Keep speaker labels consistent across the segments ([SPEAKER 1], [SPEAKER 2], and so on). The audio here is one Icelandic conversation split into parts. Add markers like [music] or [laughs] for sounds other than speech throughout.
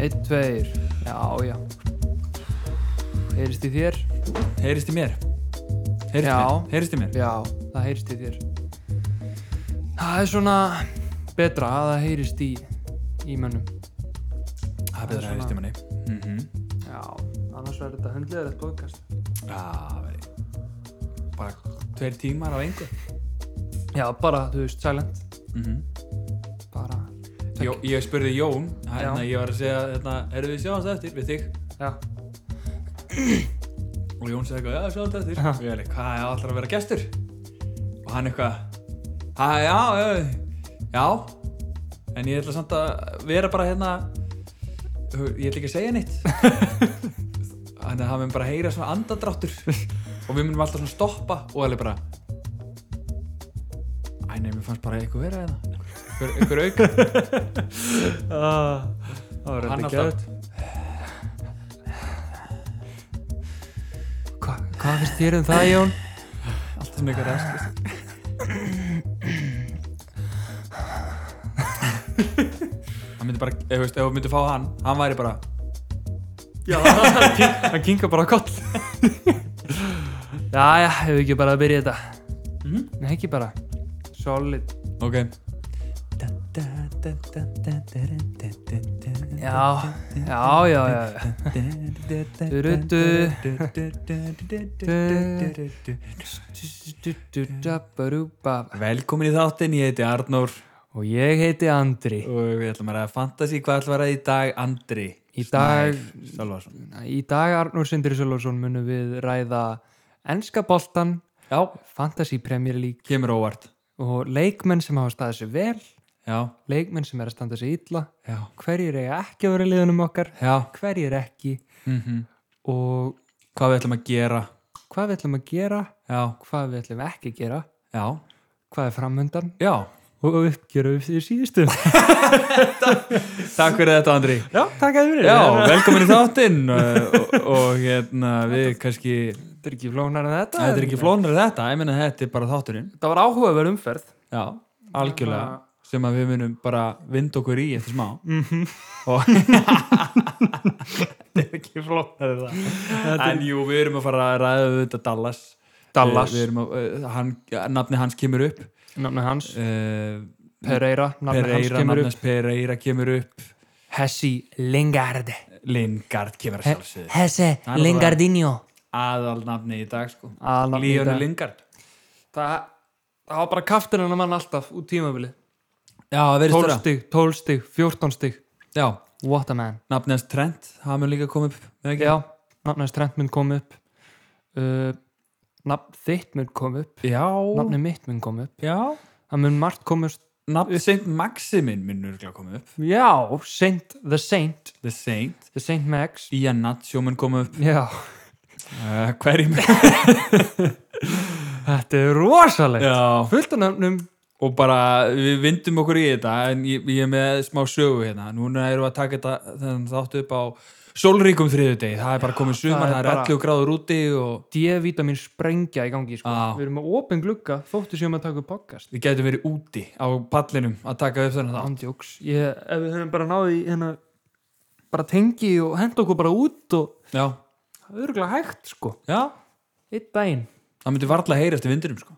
[SPEAKER 1] Einn, tveir, já, já Heyrist í þér?
[SPEAKER 2] Heyrist í mér Heyrist í
[SPEAKER 1] Já.
[SPEAKER 2] mér, heyrist í mér
[SPEAKER 1] Já, það heyrist í þér Það er svona betra að það heyrist í í mönnum Það
[SPEAKER 2] Það er
[SPEAKER 1] er
[SPEAKER 2] betra að heyrist í manni Mhm.
[SPEAKER 1] Já, annars verður þetta hundlega þetta podcast
[SPEAKER 2] Það verði bara tveir tímar af engu
[SPEAKER 1] Já, bara, þú veist, silent
[SPEAKER 2] Mhm.
[SPEAKER 1] bara,
[SPEAKER 2] Jó, ég spurði Jón hérna,
[SPEAKER 1] Já.
[SPEAKER 2] ég var að segja, hérna, erum við sjáast eftir við þig
[SPEAKER 1] já,
[SPEAKER 2] og Jón segði eitthvað, já, sjáast eftir
[SPEAKER 1] Ha.
[SPEAKER 2] og ég er eitthvað, hvað, ég á alltaf að vera gestur og hann eitthvað, "Ha, já, já, já en ég ætla samt að vera bara hérna ég ætla ekki að segja neitt
[SPEAKER 1] [laughs]
[SPEAKER 2] þannig að það mun bara heyra svona andadráttur og við munum alltaf svona stoppa og alveg bara Æ, nei, mér fannst bara eitthvað vera eða einhver, einhver
[SPEAKER 1] [laughs]
[SPEAKER 2] auk
[SPEAKER 1] Ah, Það var
[SPEAKER 2] Hann
[SPEAKER 1] reynda
[SPEAKER 2] alltaf.
[SPEAKER 1] gæðut Hva, Hvað finnst þér um það, Jón?
[SPEAKER 2] Alltaf svona eitthvað ræðskist Hann myndi bara, ef þú veist, ef þú myndi fá hann Hann væri bara [laughs]
[SPEAKER 1] Já, hann kin- kinkar bara koll Já, já, hefur ekki bara að byrja þetta Nei, ekki bara Solid
[SPEAKER 2] Ok,
[SPEAKER 1] Já, já, já, já Durudu. Du-du-du-du-du-du-du-du-ba.
[SPEAKER 2] Velkomin í þáttinn, ég heiti Arnór
[SPEAKER 1] Og ég heiti Andri
[SPEAKER 2] Og við ætlum að ræða fantasy Hvað ætlum að ræða í dag, Andri?
[SPEAKER 1] Í dag-
[SPEAKER 2] Snær Sölvason
[SPEAKER 1] Í dag, Arnur Sindri Sölvarsson, munum við ræða Enska boltan,
[SPEAKER 2] Já,
[SPEAKER 1] Fantasy Premier League
[SPEAKER 2] kemur óvart
[SPEAKER 1] og leikmenn sem hafa staðið sér vel,
[SPEAKER 2] Já,
[SPEAKER 1] leikmenn sem er að standa sér illa,
[SPEAKER 2] já,
[SPEAKER 1] hverjir eiga ekki að vera í liðunum okkar,
[SPEAKER 2] já
[SPEAKER 1] hverjir ekki
[SPEAKER 2] mm
[SPEAKER 1] og
[SPEAKER 2] Hvað við ætlum að gera
[SPEAKER 1] hvað við ætlum að gera,
[SPEAKER 2] Já,
[SPEAKER 1] hvað við ætlum ekki að gera,
[SPEAKER 2] já,
[SPEAKER 1] hvað er framöndan
[SPEAKER 2] já
[SPEAKER 1] og uppgjöru því [laughs] síðustu.
[SPEAKER 2] Takk fyrir þetta, Andri
[SPEAKER 1] Já, takk að þið fyrir.
[SPEAKER 2] Já, velkomin í þáttinn uh, og, og hérna við kannski
[SPEAKER 1] Þetta er ekki flónar en þetta.
[SPEAKER 2] Þetta er ekki flónar þetta, ég meina þetta er bara þátturinn
[SPEAKER 1] Það var áhugaverð umferð.
[SPEAKER 2] Já, algjörlega sem að við munum bara vinda okkur í eftir smá [laughs] og Mhm. Þetta er ekki flónar þetta En jú, við erum að fara að ræða við þetta Dallas
[SPEAKER 1] Dallas.
[SPEAKER 2] Við, við erum að, uh, hann, nafni hans kemur upp
[SPEAKER 1] Nafnið hans,
[SPEAKER 2] uh,
[SPEAKER 1] Pereira, nafnið hans
[SPEAKER 2] Pereira,
[SPEAKER 1] kemur upp.
[SPEAKER 2] nafnast Pereira kemur upp
[SPEAKER 1] Hessi Lingard.
[SPEAKER 2] Lingard kemur að sjálfsögðu
[SPEAKER 1] Hesse
[SPEAKER 2] Það er náttúrulega-
[SPEAKER 1] Lingardinho.
[SPEAKER 2] aðal nafni í dag sko
[SPEAKER 1] Aðalnafnið í
[SPEAKER 2] Líonu
[SPEAKER 1] dag.
[SPEAKER 2] Lingard
[SPEAKER 1] Það, það var bara kaftin hennar mann alltaf út tímabilið.
[SPEAKER 2] Já, það verðist
[SPEAKER 1] 12
[SPEAKER 2] vera
[SPEAKER 1] stig, 12 stig, 14 stig.
[SPEAKER 2] Já,
[SPEAKER 1] What a man.
[SPEAKER 2] nafni hans Trent, það mun líka koma upp eða ekki?
[SPEAKER 1] Já, nafnið hans trend mun kom upp. Uh, nafn þitt mun kom upp.
[SPEAKER 2] Já,
[SPEAKER 1] Nafnið mitt mun kom upp.
[SPEAKER 2] já
[SPEAKER 1] Það mun margt komast.
[SPEAKER 2] Nafni Saint Maximin mun nörglega koma upp
[SPEAKER 1] Já, Saint, The Saint.
[SPEAKER 2] The Saint
[SPEAKER 1] The Saint Max.
[SPEAKER 2] Ian Nacho mun koma upp
[SPEAKER 1] Já,
[SPEAKER 2] uh, Hverjum [laughs]
[SPEAKER 1] þetta er rosalegt.
[SPEAKER 2] Já,
[SPEAKER 1] Fullt af nöfnum
[SPEAKER 2] og bara við vindum okkur í þetta en ég, ég er með smá sögu hérna núna erum við að taka þetta þennan þátt upp á sólríkum þriðudegi það er bara komið sumar,
[SPEAKER 1] það
[SPEAKER 2] það
[SPEAKER 1] er
[SPEAKER 2] er,
[SPEAKER 1] bara-
[SPEAKER 2] 11 gráður úti og
[SPEAKER 1] D-vitamin sprengja í gangi sko.
[SPEAKER 2] Já.
[SPEAKER 1] Við erum með opin glugga þóttu sem að taka upp podcast
[SPEAKER 2] við gætum verið úti á pallinum að taka upp þennan þátt
[SPEAKER 1] Andjóks ég, Ef við höfum bara náði hérna, bara tengi og henda okkur bara út og
[SPEAKER 2] Já,
[SPEAKER 1] það er örgulega hægt sko
[SPEAKER 2] já,
[SPEAKER 1] Eitt daginn
[SPEAKER 2] það myndi varla heyrast í vindinum sko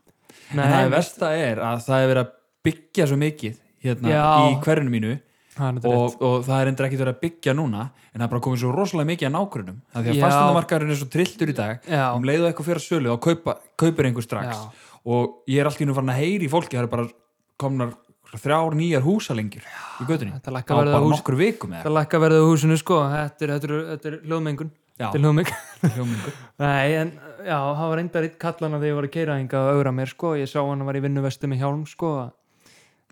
[SPEAKER 2] En það er versta er að það er verið að byggja svo mikið hérna
[SPEAKER 1] Já.
[SPEAKER 2] í hverjunum mínu
[SPEAKER 1] það er
[SPEAKER 2] og, og það er endur ekkert verið að byggja núna en það er bara komið svo rosalega mikið að nágrunum það því að
[SPEAKER 1] Já.
[SPEAKER 2] fastandamarkarinn er svo trilltur í dag
[SPEAKER 1] Já.
[SPEAKER 2] um leiðu eitthvað fyrir að sölu og kaupa, kaupir einhver strax
[SPEAKER 1] Já.
[SPEAKER 2] og ég er alltaf innum farin að heyri í fólki það eru bara komnar þrjár nýjar húsalengjur í götunni
[SPEAKER 1] þetta lækkar
[SPEAKER 2] á
[SPEAKER 1] verðið á
[SPEAKER 2] bara
[SPEAKER 1] hús-
[SPEAKER 2] nokkur vikum eða
[SPEAKER 1] Það lakka verðið á húsinu sko Þetta er, þetta er, þetta er hljóðmengun
[SPEAKER 2] Já.
[SPEAKER 1] Þetta er hljóðmengun [laughs]
[SPEAKER 2] Hljómingur.
[SPEAKER 1] Nei, en já, það var reyndar eitt kallana þegar ég var að keira hingað að augra mér sko Ég sá hann var í vinnuvesti með hjálm sko
[SPEAKER 2] Já,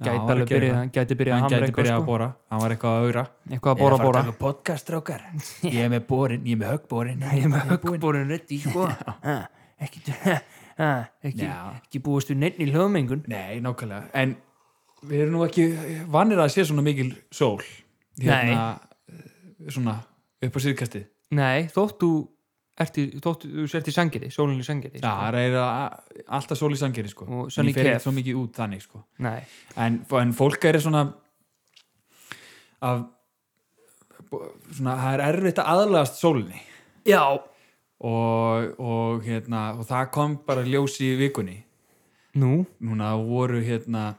[SPEAKER 1] Gæti
[SPEAKER 2] hann var að
[SPEAKER 1] alveg
[SPEAKER 2] gera
[SPEAKER 1] byrjað,
[SPEAKER 2] það.
[SPEAKER 1] hann gæti byrjað að
[SPEAKER 2] hann
[SPEAKER 1] hamra
[SPEAKER 2] gæti
[SPEAKER 1] eitthvað,
[SPEAKER 2] byrjað
[SPEAKER 1] sko.
[SPEAKER 2] að bóra, hann var eitthvað að augra
[SPEAKER 1] Eitthvað að bóra
[SPEAKER 2] Ég er
[SPEAKER 1] bóra
[SPEAKER 2] að fara að taka
[SPEAKER 1] [laughs]
[SPEAKER 2] podcastrákar ég er með borin, ég er með högborin
[SPEAKER 1] ég er með höggbórun reddi sko. Ha, ekki, [laughs] ha, ekki,
[SPEAKER 2] Já.
[SPEAKER 1] ekki búist við neitt í hljóðmengun
[SPEAKER 2] Nei, nákvæmlega, en við erum nú ekki vannir að sé svona mikil sól eh, svona upp á síðkastið Já,
[SPEAKER 1] nei, þótt þú ert í, þótt þú sért í sangeri, sólinni sangeri
[SPEAKER 2] það er að- alltaf sól í sangeri sko
[SPEAKER 1] sko. Og Sunny
[SPEAKER 2] Ég fer
[SPEAKER 1] Kef.
[SPEAKER 2] ekki svo mikið út þannig sko
[SPEAKER 1] nei,
[SPEAKER 2] en, en fólk er svona að svona, það er erfitt að aðlagast sólinni
[SPEAKER 1] Já,
[SPEAKER 2] og, og, hérna, og það kom bara ljós í vikunni
[SPEAKER 1] nú,
[SPEAKER 2] núna voru hérna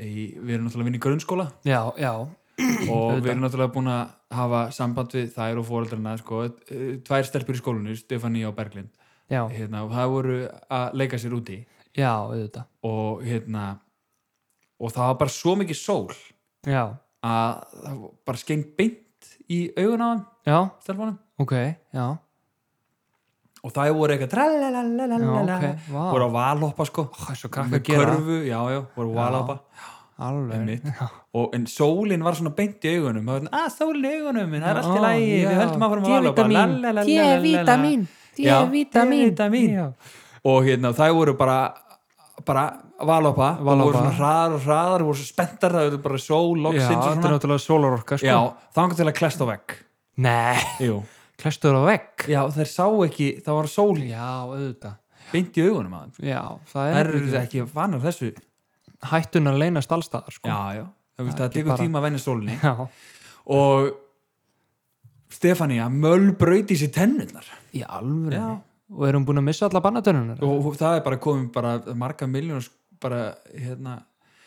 [SPEAKER 2] í, við erum náttúrulega að vinna í grunnskóla
[SPEAKER 1] já, já
[SPEAKER 2] og við erum náttúrulega búin að hafa samband við þær og fóreldrarna sko, eh, tvær stelpur í skólunni, Stefani og Berglind
[SPEAKER 1] Já,
[SPEAKER 2] hérna, og það voru að leika sér úti
[SPEAKER 1] já, auðvitað
[SPEAKER 2] og hérna og það var bara svo mikið sól
[SPEAKER 1] Já,
[SPEAKER 2] að það bara skeng beint í augun á hann,
[SPEAKER 1] já,
[SPEAKER 2] stelpunum
[SPEAKER 1] ok, já
[SPEAKER 2] og það voru eitthvað
[SPEAKER 1] Já,
[SPEAKER 2] tralalalalala
[SPEAKER 1] ok, vá
[SPEAKER 2] voru að valhoppa sko
[SPEAKER 1] Þessu krakka
[SPEAKER 2] með
[SPEAKER 1] gera
[SPEAKER 2] körfu, já, já, voru að
[SPEAKER 1] Já.
[SPEAKER 2] valhoppa
[SPEAKER 1] Alveg
[SPEAKER 2] einmitt. og en sólin var svona beint í augunum það var svona, að sólin í augunum, en það er allt í lægi við höldum að fara að valhoppa Lalalala. Já, D-vítamín.
[SPEAKER 1] Já,
[SPEAKER 2] og hérna, það voru bara bara valhoppa og
[SPEAKER 1] Valhoppa.
[SPEAKER 2] voru svona hraðar og hraðar, voru svo spenntar það voru bara sól,
[SPEAKER 1] Já,
[SPEAKER 2] loksins og
[SPEAKER 1] þetta er
[SPEAKER 2] svona
[SPEAKER 1] náttúrulega sólarorka sko.
[SPEAKER 2] já, það var til að klesta á vegg
[SPEAKER 1] Nei,
[SPEAKER 2] Jú.
[SPEAKER 1] klæstur á vegg
[SPEAKER 2] já, þeir sá ekki, það var sól
[SPEAKER 1] Já, auðvitað
[SPEAKER 2] beint í augunum að
[SPEAKER 1] Já, það
[SPEAKER 2] það
[SPEAKER 1] er,
[SPEAKER 2] eru ekki vanar þessu
[SPEAKER 1] hættunar leynast allstaðar sko.
[SPEAKER 2] já, já, það, það, það
[SPEAKER 1] ekki
[SPEAKER 2] tekur
[SPEAKER 1] bara-
[SPEAKER 2] tíma að venja sólinni
[SPEAKER 1] já,
[SPEAKER 2] og Stefania mölbrauti sér tennurnar
[SPEAKER 1] í alvöru Og erum búin að missa alla bannatönunar
[SPEAKER 2] og það er bara komin bara marga miljónus bara hérna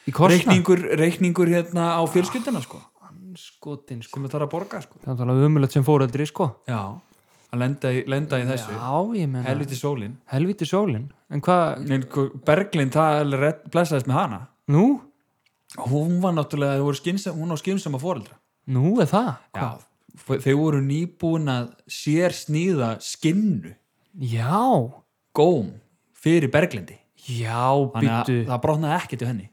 [SPEAKER 1] Í korsna
[SPEAKER 2] reikningur, reikningur hérna á fjölskyldina sko
[SPEAKER 1] Skotin sko
[SPEAKER 2] sem það þarf að borga sko
[SPEAKER 1] Það er alveg umulegt sem fóreldri sko
[SPEAKER 2] já, að lenda í, lenda í þessu
[SPEAKER 1] Já, ég meina Helviti,
[SPEAKER 2] helviti
[SPEAKER 1] sólin
[SPEAKER 2] sólin
[SPEAKER 1] En hvað,
[SPEAKER 2] En hver- Berglind, það alveg redd- blessaðist með hana
[SPEAKER 1] nú?
[SPEAKER 2] hún var náttúrulega, hún, skynsam, hún á skynsama fóreldra
[SPEAKER 1] Nú er það?
[SPEAKER 2] já, þau voru nýbúin að sér sníða skinnu
[SPEAKER 1] Já,
[SPEAKER 2] góm fyrir Berglindi
[SPEAKER 1] já,
[SPEAKER 2] þannig að
[SPEAKER 1] býttu
[SPEAKER 2] það brotnaði ekkert í henni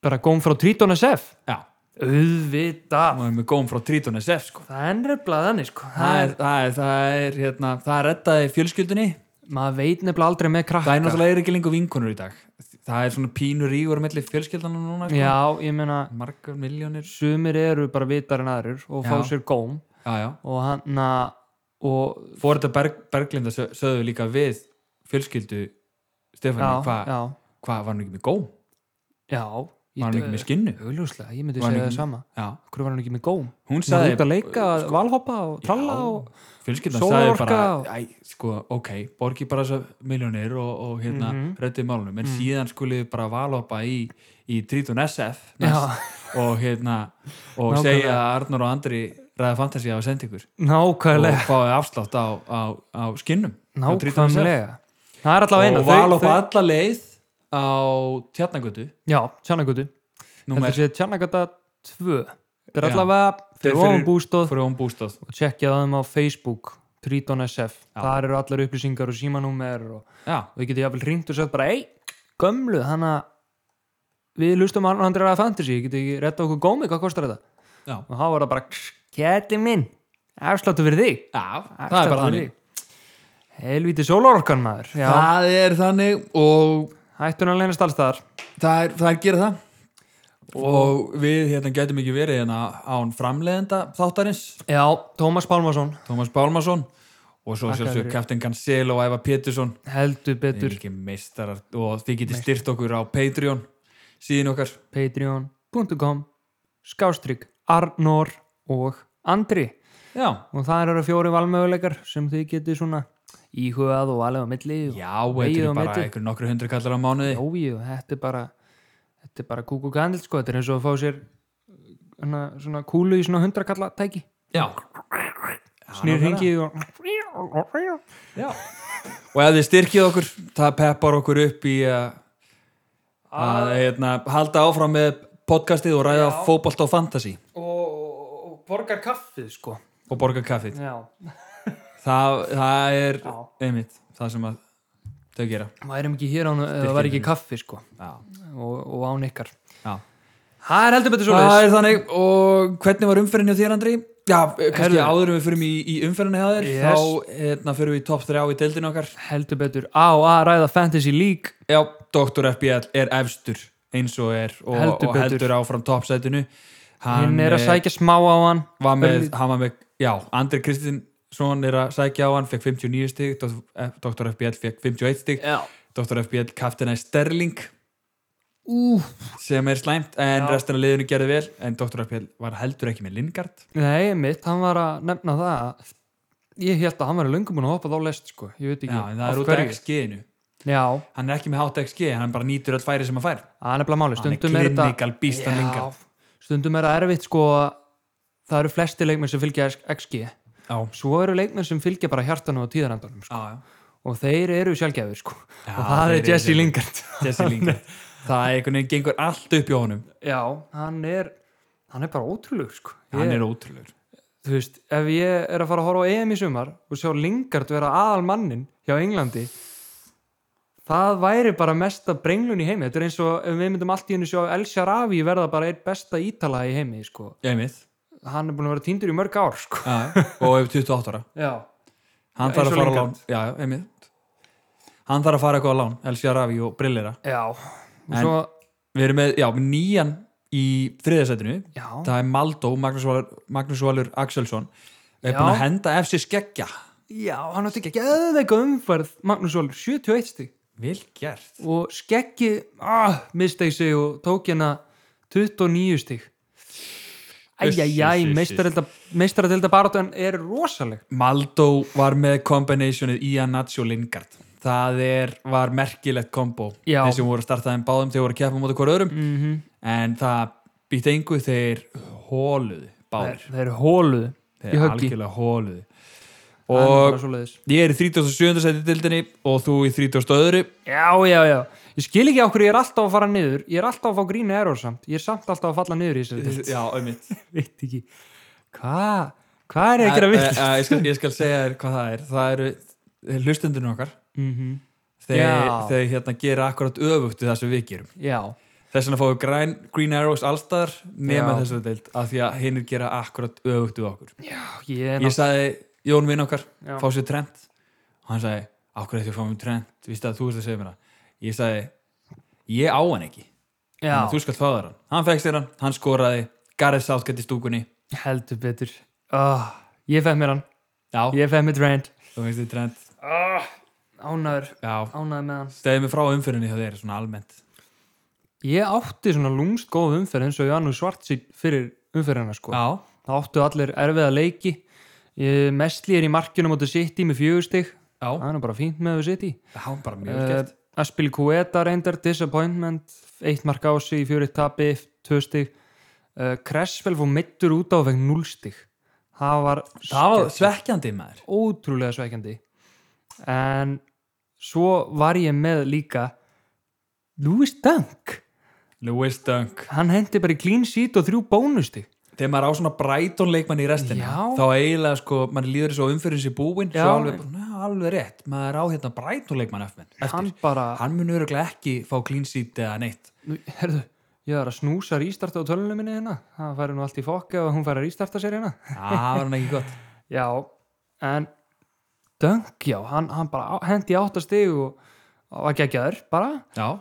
[SPEAKER 1] Bara góm frá Triton SF
[SPEAKER 2] já,
[SPEAKER 1] Auðvitað
[SPEAKER 2] hún er með góm frá Triton SF sko.
[SPEAKER 1] Það er nefnilega þannig sko
[SPEAKER 2] það er, það er, það er hérna, það er rettaði fjölskyldunni
[SPEAKER 1] Maður veit nefnilega aldrei með krakka
[SPEAKER 2] það er náttúrulega eru ekki lengur vinkonur í dag það er svona pínur ígur mellir fjölskyldana núna sko.
[SPEAKER 1] Já, ég meina
[SPEAKER 2] margar miljónir
[SPEAKER 1] Sumir eru bara vitar en aðrir og fá
[SPEAKER 2] Já.
[SPEAKER 1] sér góm
[SPEAKER 2] já, já.
[SPEAKER 1] og hann að og
[SPEAKER 2] fór þetta Berg, Berglinda sö- sögðu líka við fjölskyldu
[SPEAKER 1] já,
[SPEAKER 2] Stefán, hvað
[SPEAKER 1] já,
[SPEAKER 2] hva, var hann ekki með góm?
[SPEAKER 1] já
[SPEAKER 2] var hann ekki með skinnu?
[SPEAKER 1] augljóslega, ég myndi
[SPEAKER 2] Var hann
[SPEAKER 1] segja það
[SPEAKER 2] ekki með-
[SPEAKER 1] sama
[SPEAKER 2] Já.
[SPEAKER 1] hverju var hann ekki með góm
[SPEAKER 2] hún
[SPEAKER 1] hún var
[SPEAKER 2] sagði
[SPEAKER 1] út að leika, sko, valhoppa og tralla
[SPEAKER 2] Já,
[SPEAKER 1] og
[SPEAKER 2] fjölskyldan sagði
[SPEAKER 1] sólarorka
[SPEAKER 2] bara
[SPEAKER 1] og-
[SPEAKER 2] æ, sko, ok, borgi bara þessar miljónir og, og hérna mm
[SPEAKER 1] Mhm.
[SPEAKER 2] reddið málunum en síðan skulle þið bara valhoppa í, í Triton SF
[SPEAKER 1] já,
[SPEAKER 2] og hérna og
[SPEAKER 1] Nákvæmlega.
[SPEAKER 2] segja að Arnur og Andri ræða fantasía á sendingur og
[SPEAKER 1] nákvæmlega
[SPEAKER 2] fáið afslátt á, á, á skinnum á Triton SF.
[SPEAKER 1] nákvæmlega, það er alltaf eina
[SPEAKER 2] um og valhoppa alla leið á tjarnagötu
[SPEAKER 1] já, tjannagötu,
[SPEAKER 2] númer
[SPEAKER 1] þetta sé tjannagöta 2, þetta er
[SPEAKER 2] Já.
[SPEAKER 1] allavega
[SPEAKER 2] Þetta er
[SPEAKER 1] fyrir ofan
[SPEAKER 2] fyrir-
[SPEAKER 1] bústóð
[SPEAKER 2] frá bústáð
[SPEAKER 1] og tjekkja það um á Facebook Triton SF, þar eru allar upplýsingar og símanúmer og
[SPEAKER 2] já,
[SPEAKER 1] og ég geti jáfnvel ringt og sagt bara ei, gömlu, þannig að við lustum hann hann dræða fantasy ég geti ekki retta okkur gómi, hvað kostar þetta
[SPEAKER 2] já,
[SPEAKER 1] og þá var það bara, kæti minn afsláttu fyrir þig
[SPEAKER 2] já það er bara
[SPEAKER 1] Afsláttur fyrir
[SPEAKER 2] þannig
[SPEAKER 1] þig." helvíti sólarorkan maður já,
[SPEAKER 2] það er þannig og
[SPEAKER 1] hættun að leynast alls þar
[SPEAKER 2] það er, það er gera það og við hérna getum ekki verið hérna án framleiðenda þáttarins
[SPEAKER 1] já, Tómas Pálmarsson,
[SPEAKER 2] Tómas Bálmarsson og svo sjálfsög
[SPEAKER 1] fyrir.
[SPEAKER 2] Captain Cancel og Ævar Pétursson
[SPEAKER 1] heldur betur
[SPEAKER 2] ekki meistarar og þið getið styrt okkur á Patreon síðan okkar
[SPEAKER 1] patreon.com skástrygg Arnór og Andri
[SPEAKER 2] já,
[SPEAKER 1] og það eru fjóri valmöguleikar sem þið getið svona íhugað og alveg á milli og
[SPEAKER 2] já, þetta
[SPEAKER 1] Vegið
[SPEAKER 2] er
[SPEAKER 1] á
[SPEAKER 2] bara
[SPEAKER 1] milli.
[SPEAKER 2] einhver nokkru hundru kallar á mánuði
[SPEAKER 1] Jó, jú, þetta er bara þetta er bara kúk og kandil sko, þetta er eins og að fá sér hana, svona kúlu í svona hundrakalla tæki
[SPEAKER 2] já,
[SPEAKER 1] snýr
[SPEAKER 2] nákvæmlega.
[SPEAKER 1] hringið og
[SPEAKER 2] já og ef þið styrkið okkur, það peppar okkur upp í að að hérna, halda áfram með podcastið og ræða fótbolt og fantasy
[SPEAKER 1] og, og borgar kaffið sko
[SPEAKER 2] og borga kaffið
[SPEAKER 1] Já,
[SPEAKER 2] það, það er
[SPEAKER 1] Já.
[SPEAKER 2] einmitt það sem að þau gera
[SPEAKER 1] værum ekki hér án eða væri ekki kaffi sko
[SPEAKER 2] já.
[SPEAKER 1] og, og án ykkar
[SPEAKER 2] Já.
[SPEAKER 1] Það er heldur betur svo
[SPEAKER 2] það er þannig og hvernig var umferðin hjá þér Andri? Já, kannski
[SPEAKER 1] Herðu.
[SPEAKER 2] áður en við förum í, í umferðinni hjá þér
[SPEAKER 1] Yes.
[SPEAKER 2] þá hérna, förum við í topp 3 í deildinu okkar
[SPEAKER 1] heldur betur á að ræða Fantasy League
[SPEAKER 2] já, Dr. FBL er efstur eins og er
[SPEAKER 1] Heldur
[SPEAKER 2] og heldur, og
[SPEAKER 1] betur.
[SPEAKER 2] heldur áfram toppsætinu
[SPEAKER 1] hinn er að
[SPEAKER 2] eh,
[SPEAKER 1] sækja smá á hann
[SPEAKER 2] var með, hann var með, já, Andri Kristinsson er að sækja á hann, fekk 59 stig eh, Dr. FBL fekk 51 stig
[SPEAKER 1] Já,
[SPEAKER 2] Dr. FBL kaftina í Sterling
[SPEAKER 1] Ú,
[SPEAKER 2] sem er slæmt en
[SPEAKER 1] Já.
[SPEAKER 2] restin af liðinu gerði vel en Dr. Appel var heldur ekki með Lingard
[SPEAKER 1] nei, mitt, hann var að nefna það að ég held að hann var löngum búin að hoppa þá lest, sko, ég veit ekki
[SPEAKER 2] Já, en það
[SPEAKER 1] af
[SPEAKER 2] er út af
[SPEAKER 1] hverju.
[SPEAKER 2] XG-inu
[SPEAKER 1] Já,
[SPEAKER 2] hann er ekki með hátt XG, hann bara nýtur öll færi sem hann fær
[SPEAKER 1] það er nefnilega máli, stundum
[SPEAKER 2] hann
[SPEAKER 1] er
[SPEAKER 2] er
[SPEAKER 1] þetta
[SPEAKER 2] klinikal býstan
[SPEAKER 1] Já.
[SPEAKER 2] Lingard
[SPEAKER 1] Stundum er það erfitt, sko að það eru flesti leikmenn sem fylgja XG
[SPEAKER 2] já,
[SPEAKER 1] svo eru leikmenn sem fylgja bara hjartanu og tíðarandanum, sko,
[SPEAKER 2] já, já.
[SPEAKER 1] og þeir eru sjálfgæfir, sko,
[SPEAKER 2] Já,
[SPEAKER 1] og það
[SPEAKER 2] þeir
[SPEAKER 1] er
[SPEAKER 2] eru
[SPEAKER 1] Jesse
[SPEAKER 2] sjálfgæfir.
[SPEAKER 1] Lingard
[SPEAKER 2] Jesse
[SPEAKER 1] [laughs]
[SPEAKER 2] Lingard það er einhvern veginn gengur allt upp hjá honum
[SPEAKER 1] Já, hann er hann er bara ótrúlegur, sko
[SPEAKER 2] hann
[SPEAKER 1] Ég-
[SPEAKER 2] er ótrúlegur
[SPEAKER 1] þú veist, ef ég er að fara að horfa á EM í sumar og sjá Lingard vera aðal mannin hjá Englandi það væri bara mesta brenglun í heimi, þetta er eins og ef við myndum allt í henni sjá El Sharavi verða bara eitt besta ítala í heimi, sko
[SPEAKER 2] ég mitt
[SPEAKER 1] hann er búin að vera týndur í mörg ár, sko
[SPEAKER 2] og ef 28 ára
[SPEAKER 1] Já,
[SPEAKER 2] hann
[SPEAKER 1] Já,
[SPEAKER 2] þarf
[SPEAKER 1] eins og
[SPEAKER 2] að fara á lán
[SPEAKER 1] Lingard.
[SPEAKER 2] já, ég mitt hann þarf að fara eitthvað á lán, Elsia Ravi og Brillera
[SPEAKER 1] já og
[SPEAKER 2] En-
[SPEAKER 1] svo,
[SPEAKER 2] við erum með, já, með nýjan í þriðasætinu
[SPEAKER 1] já,
[SPEAKER 2] það er Maldó, Magnús Valur, Magnús Valur Axelsson er
[SPEAKER 1] Já.
[SPEAKER 2] búin að henda ef sér skeggja
[SPEAKER 1] já hann átti ekki að geðveika umferð Magnús Valur, 71 stig
[SPEAKER 2] vel gert
[SPEAKER 1] og skeggi ah, mistegi sig og tók hérna 29 stig
[SPEAKER 2] Uss, uss, uss,
[SPEAKER 1] Æjæjæ,
[SPEAKER 2] uss.
[SPEAKER 1] meistaradelda baráttan er rosaleg
[SPEAKER 2] Maldó var með kombinæsjonið Ian Nacho Lingard það er, var merkilegt kombo
[SPEAKER 1] Já. Mhm.
[SPEAKER 2] þeir sem voru að starta þeim báðum þegar voru að keppa mútið hver öðrum -hmm. en það býtti engu þeir hóluðu báður
[SPEAKER 1] Þeir eru hóluð
[SPEAKER 2] þeir
[SPEAKER 1] í höggi
[SPEAKER 2] algjörlega hóluðu
[SPEAKER 1] Það er
[SPEAKER 2] og
[SPEAKER 1] bara svoleiðis.
[SPEAKER 2] ég er í 37. seti dildinni og þú í 32.
[SPEAKER 1] Já, já, já Ég skil ekki á hverju ég er alltaf að fara niður Ég er alltaf að fá grínu error samt Ég er samt alltaf að falla niður í þessari deild.
[SPEAKER 2] Já, auðvitað
[SPEAKER 1] Veit ekki Hvað? Hvað er ég að gera
[SPEAKER 2] Eh,
[SPEAKER 1] vilt?
[SPEAKER 2] eh, eh, ég, skal, ég skal segja þér hvað það er það eru hlustendunum okkar
[SPEAKER 1] Mhm.
[SPEAKER 2] þeir,
[SPEAKER 1] Já.
[SPEAKER 2] þeir hérna gera akkurat öfugt við það sem við gerum
[SPEAKER 1] Já,
[SPEAKER 2] þess vegna fáum við græn, Green Arrows allstar nema
[SPEAKER 1] Já.
[SPEAKER 2] þessu deild af því að hinnir gera akkurat öfugt við okkur
[SPEAKER 1] já, ég er
[SPEAKER 2] ég sagði Jón vinn okkar
[SPEAKER 1] Já.
[SPEAKER 2] fá sér trend og hann sagði akkurat því að fá mér trend víst að þú veist að segja mér það ég sagði ég á hann ekki
[SPEAKER 1] Já,
[SPEAKER 2] þú skalt fá þér hann hann fekk sér hann, hann skoraði Gareth Southgate í stúkunni
[SPEAKER 1] heldur betur oh, Ég fæð mér hann
[SPEAKER 2] já,
[SPEAKER 1] Ég fæð mér Drand
[SPEAKER 2] þú veist þið trend
[SPEAKER 1] Ánæður,
[SPEAKER 2] já,
[SPEAKER 1] ánæður með hann
[SPEAKER 2] Stæði mig frá umfyrinni hjá þeir svona almennt
[SPEAKER 1] Ég átti svona lúmst góð umferð eins og Jannu Svartsík fyrir umferðina sko.
[SPEAKER 2] Já,
[SPEAKER 1] Það áttu allir erfiða leiki ég, Mestli er í markjunum áttu City með fjögustig
[SPEAKER 2] já, Eh,
[SPEAKER 1] Það er nú bara fínt með þau City
[SPEAKER 2] það var bara mjög vel
[SPEAKER 1] uh,
[SPEAKER 2] gert
[SPEAKER 1] Aspil Kueta reyndar Disappointment, eitt mark á sig í fjögur tapi, tvö stig uh, Cresswell fór mittur út á og fengt núlstig Það var
[SPEAKER 2] Það var svekkjandi maður
[SPEAKER 1] ótrúlega sveikjandi en svo var ég með líka Louis Dunk
[SPEAKER 2] Lewis Dunk
[SPEAKER 1] hann hendi bara í clean sheet og þrjú bónusti
[SPEAKER 2] Þegar maður á svona Brighton leikmann í restina
[SPEAKER 1] Já.
[SPEAKER 2] þá eiginlega sko, maður líður þessu umfyrin sér búinn
[SPEAKER 1] Já.
[SPEAKER 2] svo alveg, bara, "Nei, alveg rétt, maður á hérna Brighton leikmann eftir, eftir.
[SPEAKER 1] hann
[SPEAKER 2] Hann,
[SPEAKER 1] bara,
[SPEAKER 2] hann mun öruglega ekki fá clean seat eða neitt
[SPEAKER 1] Nú, herðu ég var að snúsa rístarta á tölunum minni hérna það færi nú allt í fokka og hún færi að rístarta sér hérna [laughs]
[SPEAKER 2] Það var hann ekki gott
[SPEAKER 1] já, en Dunk, já, hann, hann bara á- hendi í áttastig og og var geggjaður bara
[SPEAKER 2] [laughs] Já,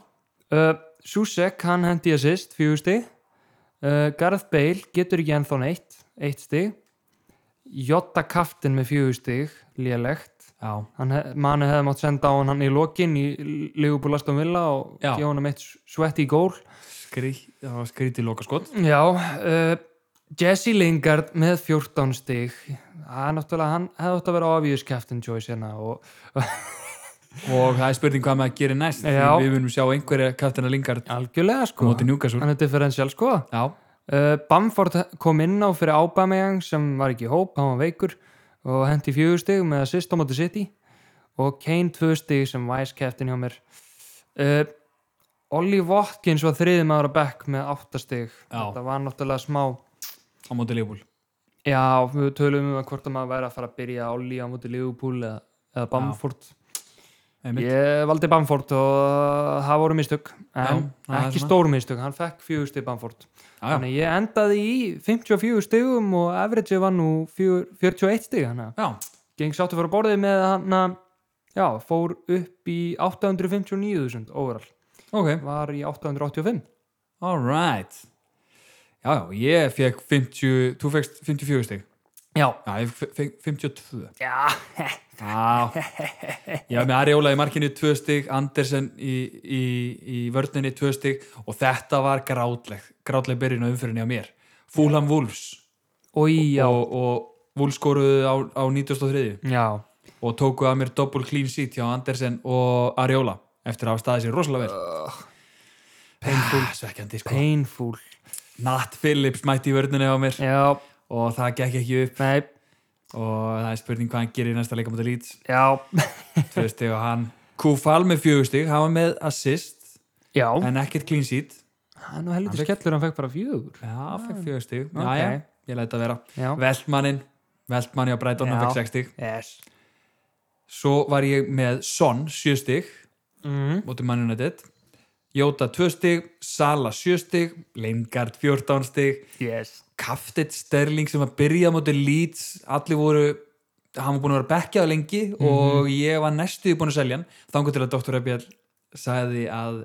[SPEAKER 1] uh, Susek, hann hendi assist, fjögur stig uh, Gareth Bale getur ekki ennþá neitt, eitt stig Jota Kaftin með fjögur stig lélegt
[SPEAKER 2] já,
[SPEAKER 1] hann hef, manni hefði mátt senda á hann, hann í lokin í Ligubúlastum Villa og
[SPEAKER 2] Já.
[SPEAKER 1] gefa hann eitt svetti í gól
[SPEAKER 2] Skrí, það var skrítið loka skot
[SPEAKER 1] já uh, Jesse Lingard með 14 stig það er náttúrulega, hann hefði átt að vera obvious captain choice hérna og
[SPEAKER 2] og það er spurning hvað maður gerir næst
[SPEAKER 1] Já.
[SPEAKER 2] við munum sjá einhverja Kattina Lingard
[SPEAKER 1] algjörlega sko,
[SPEAKER 2] móti Newcastle
[SPEAKER 1] hann er differential sko
[SPEAKER 2] Já,
[SPEAKER 1] Uh, Bamford kom inn á fyrir Aubameyang sem var ekki í hóp, hann var veikur og hendi fjögur stig með assist á móti City og Kane tvö stig sem vice captain hjá mér uh, Ollie Watkins var þriði maður að bekk með átta stig
[SPEAKER 2] Já.
[SPEAKER 1] þetta var náttúrulega smá
[SPEAKER 2] á móti Leifbúl
[SPEAKER 1] já, við tölum um að hvort að maður væri að fara að byrja Ollie á móti Liverpool eða, eða Bamford ég valdi Bamford og það voru mistök en
[SPEAKER 2] Já, það er
[SPEAKER 1] ekki
[SPEAKER 2] svona.
[SPEAKER 1] stór mistök, hann fekk fjögur stig Bamford Þannig ég endaði í 54 stigum og average var nú fjör- 41 stig þannig að
[SPEAKER 2] Já,
[SPEAKER 1] geng sáttu fyrir borðið með hann að já, fór upp í 859.000 overall,
[SPEAKER 2] ok,
[SPEAKER 1] var í 885
[SPEAKER 2] alright Já, já, ég fekk 50, þú fekkst 54 stig
[SPEAKER 1] Já,
[SPEAKER 2] Já, ég fe- feng 52
[SPEAKER 1] já,
[SPEAKER 2] Já, ég var með Ariola í markinu tvö stig, Andersen í, í, í vörninni tvö stig og þetta var grátleg, grátleg byrjun á umfyrinni á mér. Fúlham Wolves
[SPEAKER 1] oi, já,
[SPEAKER 2] og, og Wolves skoruðu á, á 93
[SPEAKER 1] já,
[SPEAKER 2] og tókuðu að mér double clean sheet hjá Andersen og Ariola eftir að hafa staðið sér rosalega vel. Painful. Svekkjandi, sko.
[SPEAKER 1] painful,
[SPEAKER 2] Nat Phillips mætti í vörninni á mér
[SPEAKER 1] já,
[SPEAKER 2] og það gekk ekki upp
[SPEAKER 1] nei,
[SPEAKER 2] og það er spurning hvað hann gerir í næsta leikamönda lít.
[SPEAKER 1] já,
[SPEAKER 2] tvö stig og hann Kúfal með fjögur stig, hann var með assist
[SPEAKER 1] já,
[SPEAKER 2] en ekkert clean sheet
[SPEAKER 1] hann var
[SPEAKER 2] Hann
[SPEAKER 1] helviti
[SPEAKER 2] fékk-
[SPEAKER 1] skellur, hann fekk bara fjögur,
[SPEAKER 2] já, fekk fjögur stig,
[SPEAKER 1] Ok.
[SPEAKER 2] Ah. já, já, ég læt að vera
[SPEAKER 1] já,
[SPEAKER 2] Veltmannin, Veltmanni á Breitón hann
[SPEAKER 1] Já.
[SPEAKER 2] fekk 6 stig,
[SPEAKER 1] yes,
[SPEAKER 2] svo var ég með Son 7 stig,
[SPEAKER 1] mm.
[SPEAKER 2] mótið mannuna þetta Jóta 2 stig, Sala 7 stig, Lingard 14 stig
[SPEAKER 1] yes,
[SPEAKER 2] Kaftet Sterling sem var byrjað mótið Leeds, allir voru hann var búin að vera bekkjað lengi og ég var næstuði búin að selja hann þangur til að Dr. Ebjall sagði að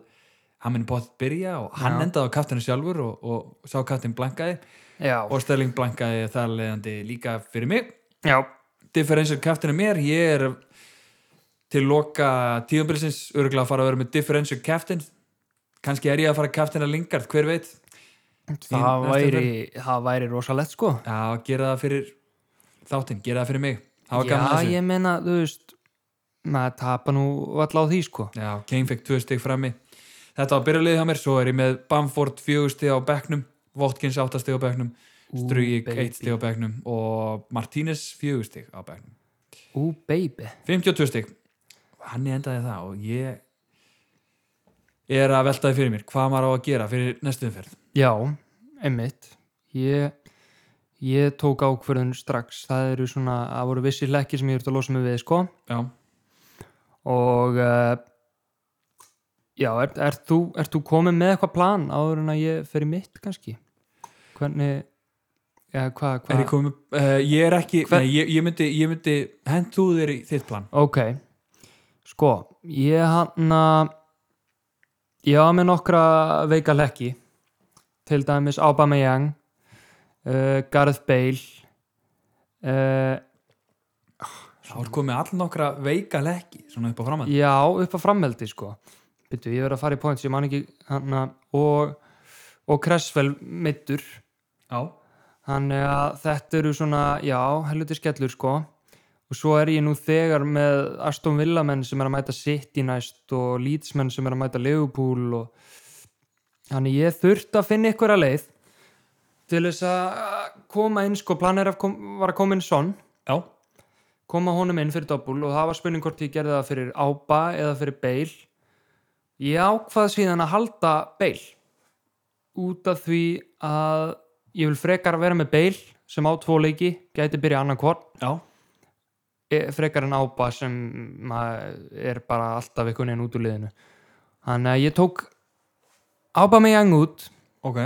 [SPEAKER 2] hann minn bótt byrja og hann
[SPEAKER 1] Já.
[SPEAKER 2] endaði á kaftinu sjálfur og, og sá kaftin blankaði
[SPEAKER 1] já,
[SPEAKER 2] og Sterling blankaði þar leðandi líka fyrir mig
[SPEAKER 1] já,
[SPEAKER 2] differential kaftinu mér, ég er til loka tíumbilsins örgulega að fara að vera með differential kaftin kannski er ég að fara að kaftina lingard, hver veit
[SPEAKER 1] það
[SPEAKER 2] Þín næsta
[SPEAKER 1] væri, það væri rosalegt, sko,
[SPEAKER 2] Já, gera það fyrir þáttinn, gera það fyrir mig Það var
[SPEAKER 1] já,
[SPEAKER 2] gaman að þessu
[SPEAKER 1] ég meina, þú veist, maður tapa nú allá því, sko,
[SPEAKER 2] Já, Kane fekk tvö stig frammi Þetta var byrjulegið hjá mér, svo er ég með Bamford fjögur stig á bekknum Votkins átta stig á bekknum
[SPEAKER 1] Ú,
[SPEAKER 2] Strugik
[SPEAKER 1] baby.
[SPEAKER 2] eitt stig á bekknum og Martínez fjögur stig á bekknum
[SPEAKER 1] ú, baby,
[SPEAKER 2] 52 stig Hann endaði það og ég er að veltaði fyrir mér hvað maður á að gera fyrir næstu umferð
[SPEAKER 1] já, einmitt, ég, ég tók ákverðun strax, það eru svona, það voru vissir lekkir sem ég þurfti að losa mig við, sko,
[SPEAKER 2] Já,
[SPEAKER 1] og uh, já, ert er þú, er þú komið með eitthvað plan áður en að ég fer í mitt kannski hvernig já, hvað,
[SPEAKER 2] er
[SPEAKER 1] hvað
[SPEAKER 2] ég komið uh, Ég er ekki,
[SPEAKER 1] Hver-
[SPEAKER 2] nei, ég, ég myndi, ég myndi hent þú þér í þitt plan
[SPEAKER 1] ok, sko ég hann að ég hafa með nokkra veika lekki til dæmis Aubameyang uh, Gareth Bale uh,
[SPEAKER 2] Þá er komið all nokkra veika lekki svona upp á framann
[SPEAKER 1] Já, upp á frammeldi sko Byttu, ég verið að fara í points, ég man ekki hana, og, og Cresswell middur,
[SPEAKER 2] Já,
[SPEAKER 1] þannig að þetta eru svona, já, helviti skellur sko og svo er ég nú þegar með Aston Villa menn sem er að mæta City næst og Leeds menn sem er að mæta Liverpool og þannig ég þurft að finna ykkur að leið til þess að koma inn sko, plan er að kom, var að koma inn sonn
[SPEAKER 2] já,
[SPEAKER 1] koma honum inn fyrir doppul og það var spurning hvort ég gerði það fyrir Ába eða fyrir Beil ég ákvað síðan að halda Beil út af því að ég vil frekar vera með Beil sem á tvo leiki, gæti byrja annan hvort e,
[SPEAKER 2] já,
[SPEAKER 1] frekar en Ába sem maður er bara alltaf einhvern veginn út úr liðinu þannig að ég tók Ába með jang út
[SPEAKER 2] ok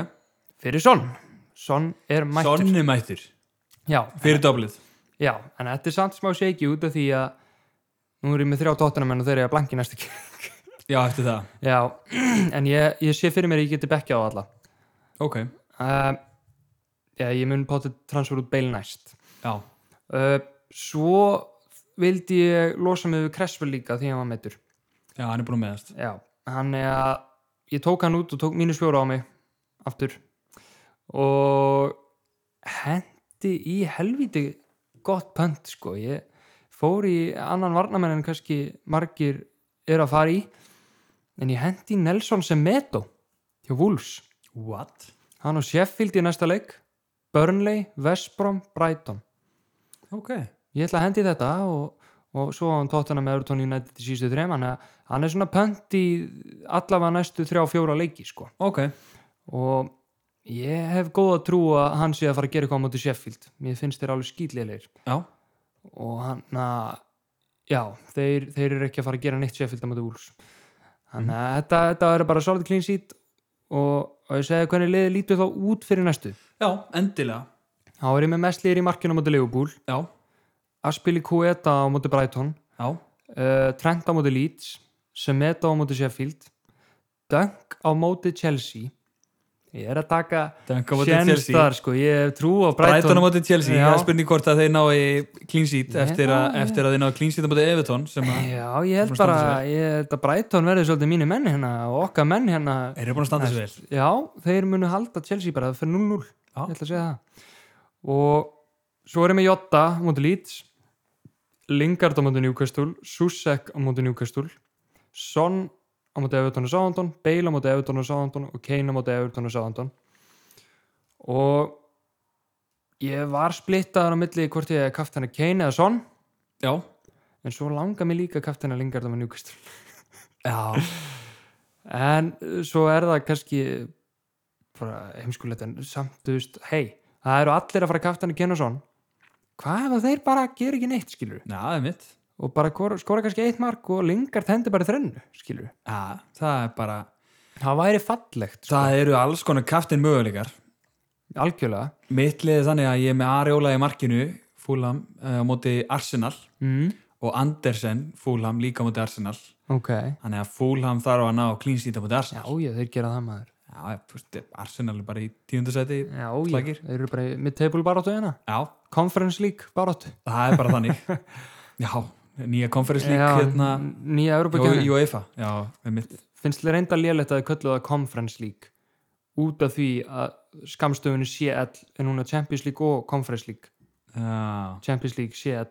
[SPEAKER 1] fyrir Son Son er mættur
[SPEAKER 2] Sonni mættur,
[SPEAKER 1] Já,
[SPEAKER 2] fyrir doblið
[SPEAKER 1] Já, en þetta er samt smá shaky út af því að nú er ég með þrjá tóttunamenn og þeir eru að blanki næstu ekki.
[SPEAKER 2] Já, eftir það,
[SPEAKER 1] Já, en ég, ég sé fyrir mér að ég geti bekkja á alla.
[SPEAKER 2] ok
[SPEAKER 1] Uh, já, ég mun potið transfer út beil næst.
[SPEAKER 2] Já,
[SPEAKER 1] Uh, svo vildi ég losa mig við Cresswell líka því hann var meittur.
[SPEAKER 2] já, hann er búin að meðast
[SPEAKER 1] Já, hann er að ég tók hann út og tók mínus fjóra á mig aftur og hendi í helviti gott pönt sko ég fór í annan varnamenn en kannski margir eru að fara í en ég hendi í Nelson Semedo hjá Wolves
[SPEAKER 2] What?
[SPEAKER 1] hann og Sheffield í næsta leik Burnley, Vestbrom, Brighton
[SPEAKER 2] Ok,
[SPEAKER 1] ég ætla að hendi í þetta og, og svo á hann tóttana með Everton United í sístu þreim hann, hann er svona pönt í allavega næstu þrjá fjóra leiki sko.
[SPEAKER 2] ok
[SPEAKER 1] og ég hef góða trú að hann sé að fara að gera eitthvað á móti Sheffield mér finnst þeir alveg skýtleilegir
[SPEAKER 2] Já,
[SPEAKER 1] og hann að já, þeir, þeir eru ekki að fara að gera neitt Sheffield á móti Wolves þannig að þetta, þetta er bara solid clean sheet og, og ég segi hvernig liðið lítur þá út fyrir næstu
[SPEAKER 2] já, endilega
[SPEAKER 1] þá er ég með mest liðir í markinu á móti Leopold
[SPEAKER 2] Já,
[SPEAKER 1] Aspili Kueta á móti Brighton
[SPEAKER 2] já,
[SPEAKER 1] uh, Trent á móti Leeds Semedo á móti Sheffield Dunk á móti Chelsea ég er að taka
[SPEAKER 2] Duncan móti
[SPEAKER 1] sjens
[SPEAKER 2] Chelsea
[SPEAKER 1] þar sko, ég hef trú á
[SPEAKER 2] Brighton á
[SPEAKER 1] Brighton
[SPEAKER 2] móti Chelsea,
[SPEAKER 1] Já.
[SPEAKER 2] það er spurning hvort að þeir ná í clean sheet
[SPEAKER 1] Já,
[SPEAKER 2] eftir, a,
[SPEAKER 1] já.
[SPEAKER 2] eftir að þeir ná clean sheet á móti Everton sem að
[SPEAKER 1] já, ég held
[SPEAKER 2] Búin að
[SPEAKER 1] bara
[SPEAKER 2] standa
[SPEAKER 1] ég held að Brighton verði svolítið mínu menn hérna og okkar menn hérna
[SPEAKER 2] Þeir eru búin að standa sér vel
[SPEAKER 1] já, þeir munu halda Chelsea bara fyrir 0-0,
[SPEAKER 2] Já.
[SPEAKER 1] ég ætla að segja það og svo erum við Jota á móti Leeds Lingard á móti Newcastle Susek á móti Newcastle Son á móti Everton og Southampton Bale á móti Everton og Southampton og Kane á móti Everton og Southampton og ég var splittaður á milli hvort ég hef kaft hennar Kane eða Son
[SPEAKER 2] Já,
[SPEAKER 1] en svo langar mér líka kaft hennar Lingard á móti Newcastle [laughs]
[SPEAKER 2] já,
[SPEAKER 1] En uh, svo er það kannski bara heimskulegt en samt, þú veist, hei, það eru allir að fara að kaftan í Kennason. Hvað ef að þeir bara gera ekki neitt, skilur?
[SPEAKER 2] já, það er mitt
[SPEAKER 1] Og bara kor- skora kannski eitt mark og Lingard hendi bara í þrennu, skilur?
[SPEAKER 2] Já, það er bara
[SPEAKER 1] Það væri fallegt, sko,
[SPEAKER 2] Það eru alls konar kaftin möguleikar
[SPEAKER 1] algjörlega.
[SPEAKER 2] Mitt liðið er þannig að ég er með Ariola í markinu Fúlam á móti Arsenal
[SPEAKER 1] Mm.
[SPEAKER 2] og Andersen Fúlam líka á móti Arsenal
[SPEAKER 1] Ok.
[SPEAKER 2] Þannig að Fúlam þarf að ná clean sheet á móti
[SPEAKER 1] Já,
[SPEAKER 2] Arsenal
[SPEAKER 1] já, þeir gera það maður.
[SPEAKER 2] Já, já þú veist, Arsenal er bara í tíundasæti
[SPEAKER 1] Já, já,
[SPEAKER 2] Slagir.
[SPEAKER 1] þeir eru bara með table baráttu hérna.
[SPEAKER 2] Já,
[SPEAKER 1] Conference League baráttu.
[SPEAKER 2] það er bara
[SPEAKER 1] [laughs]
[SPEAKER 2] þannig Já, nýja konferenslík
[SPEAKER 1] Já,
[SPEAKER 2] hérna
[SPEAKER 1] n- hérna. Nýja Europa
[SPEAKER 2] Jó, Jó, Eifa, já, með mitt
[SPEAKER 1] finnst þið reynda lélegt að þið kölluðu það Conference League út af því að skamstöfunni CL er núna Champions League og Conference League
[SPEAKER 2] Já,
[SPEAKER 1] Champions League, CL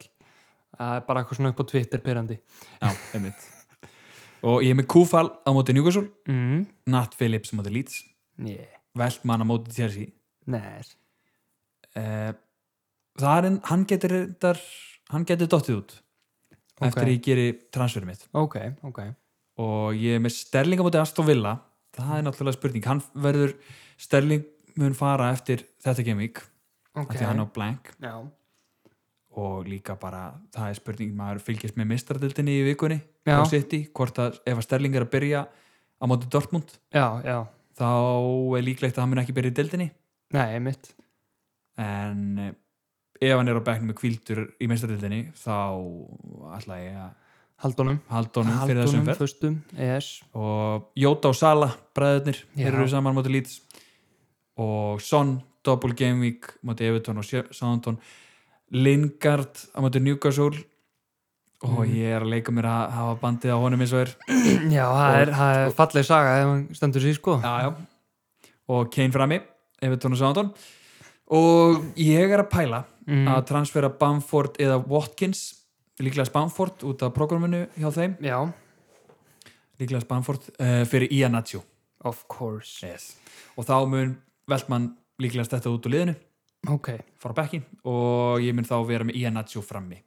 [SPEAKER 1] það er bara eitthvað svona upp á Twitter perandi
[SPEAKER 2] já, með mitt Og ég er með Kúfal á móti Newcastle
[SPEAKER 1] mm.
[SPEAKER 2] Nat Phillips á móti Leeds
[SPEAKER 1] yeah.
[SPEAKER 2] Veltmann á móti Chelsea
[SPEAKER 1] Nei,
[SPEAKER 2] Eh, Það er en, hann getur þar, hann getur dottið út
[SPEAKER 1] Ok.
[SPEAKER 2] eftir að ég geri transferið mitt
[SPEAKER 1] ok, ok
[SPEAKER 2] og ég er með Sterling á móti Aston Villa það er náttúrulega spurning hann verður, Sterling mun fara eftir þetta gemvík,
[SPEAKER 1] ok,
[SPEAKER 2] okay. því hann á blank
[SPEAKER 1] já,
[SPEAKER 2] og líka bara, það er spurning maður fylgjast með mistradildinni í vikunni
[SPEAKER 1] Já.
[SPEAKER 2] á City, hvort að ef að Sterling er að byrja á móti Dortmund
[SPEAKER 1] já, já
[SPEAKER 2] þá er líklegt að hann mun ekki byrja í dildinni
[SPEAKER 1] Nei, mitt,
[SPEAKER 2] en eh, ef hann er á bekknum með kvildur í mistradildinni þá ætla ég að
[SPEAKER 1] haldunum
[SPEAKER 2] halda honum fyrir þessum ferð
[SPEAKER 1] föstum, yes
[SPEAKER 2] og Jóta og Sala, bræðurnir
[SPEAKER 1] Já.
[SPEAKER 2] þeir eru saman móti Leeds og Son, Double Game Week móti Everton og Southampton Lingard á móti Newcastle og ég er að leika mér að hafa bandið á honum eins og er
[SPEAKER 1] [clears throat] Já, það er, það er falleg saga ef hann stendur sér sko
[SPEAKER 2] já, já. og Kane frami Everton og Southampton og ég er að pæla
[SPEAKER 1] Mm.
[SPEAKER 2] að transfera Bamford eða Watkins líklega Bamford út af programminu hjá þeim
[SPEAKER 1] Já,
[SPEAKER 2] líklega Bamford uh, fyrir Iannaccio
[SPEAKER 1] of course
[SPEAKER 2] yes. og þá mun Veltmann líklega stætta út úr liðinu
[SPEAKER 1] Ok,
[SPEAKER 2] fara á bekkin og ég mun þá vera með Iannaccio frammi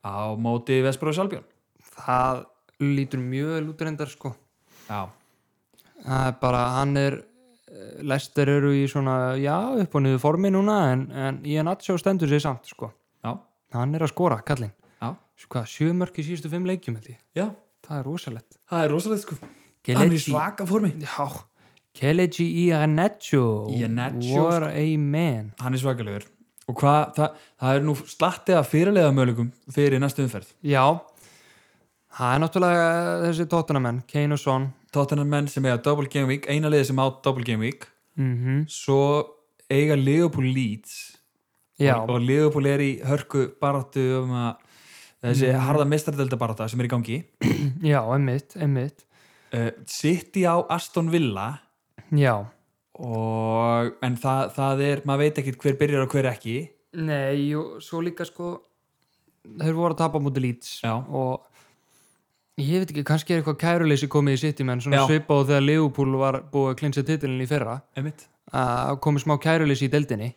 [SPEAKER 2] á móti Vesbróðu Salbjörn
[SPEAKER 1] það lítur mjög vel út reyndar sko
[SPEAKER 2] já,
[SPEAKER 1] það er bara, hann er eh, Leicester eru í svona, já, upp og niður formi núna en, en Ian Atsjó stendur sér samt, sko
[SPEAKER 2] já,
[SPEAKER 1] hann er að skora, kallinn
[SPEAKER 2] já,
[SPEAKER 1] Svo hvað, sjö mörk í síðustu fimm leikjum held ég.
[SPEAKER 2] já
[SPEAKER 1] það er rosalett
[SPEAKER 2] það er rosalega sko hann er í
[SPEAKER 1] Kelechi,
[SPEAKER 2] svaka formi
[SPEAKER 1] já Kelechi Iannaccio
[SPEAKER 2] Iheanacho,
[SPEAKER 1] what a man
[SPEAKER 2] hann er svakalegur og hvað, það, það er nú slatti að fyrirlega möguleikum fyrir næstu umferð
[SPEAKER 1] já, það er náttúrulega eh, þessi tóttunamenn, Kane og Son
[SPEAKER 2] Tottenham menn sem eiga Double Game Week eina liði sem á Double Game Week
[SPEAKER 1] mm
[SPEAKER 2] svo eiga Liverpool Leeds
[SPEAKER 1] já,
[SPEAKER 2] og, og Liverpool er í hörku baráttu um að þessi harða meistaradelda baráttu sem er í gangi
[SPEAKER 1] já, emmitt, emmitt
[SPEAKER 2] uh, City á Aston Villa
[SPEAKER 1] já,
[SPEAKER 2] og, en það, það er, maður veit ekkert hver byrjar og hver ekki
[SPEAKER 1] Nei, og svo líka sko þeir voru að tapa á múti lít
[SPEAKER 2] Já.
[SPEAKER 1] og ég veit ekki, kannski er eitthvað kæruleysi komið í City menn, svona
[SPEAKER 2] Já.
[SPEAKER 1] svipað og þegar Liverpool var búið að klinsa titilin í fyrra
[SPEAKER 2] einmitt
[SPEAKER 1] að komið smá kæruleysi í deildinni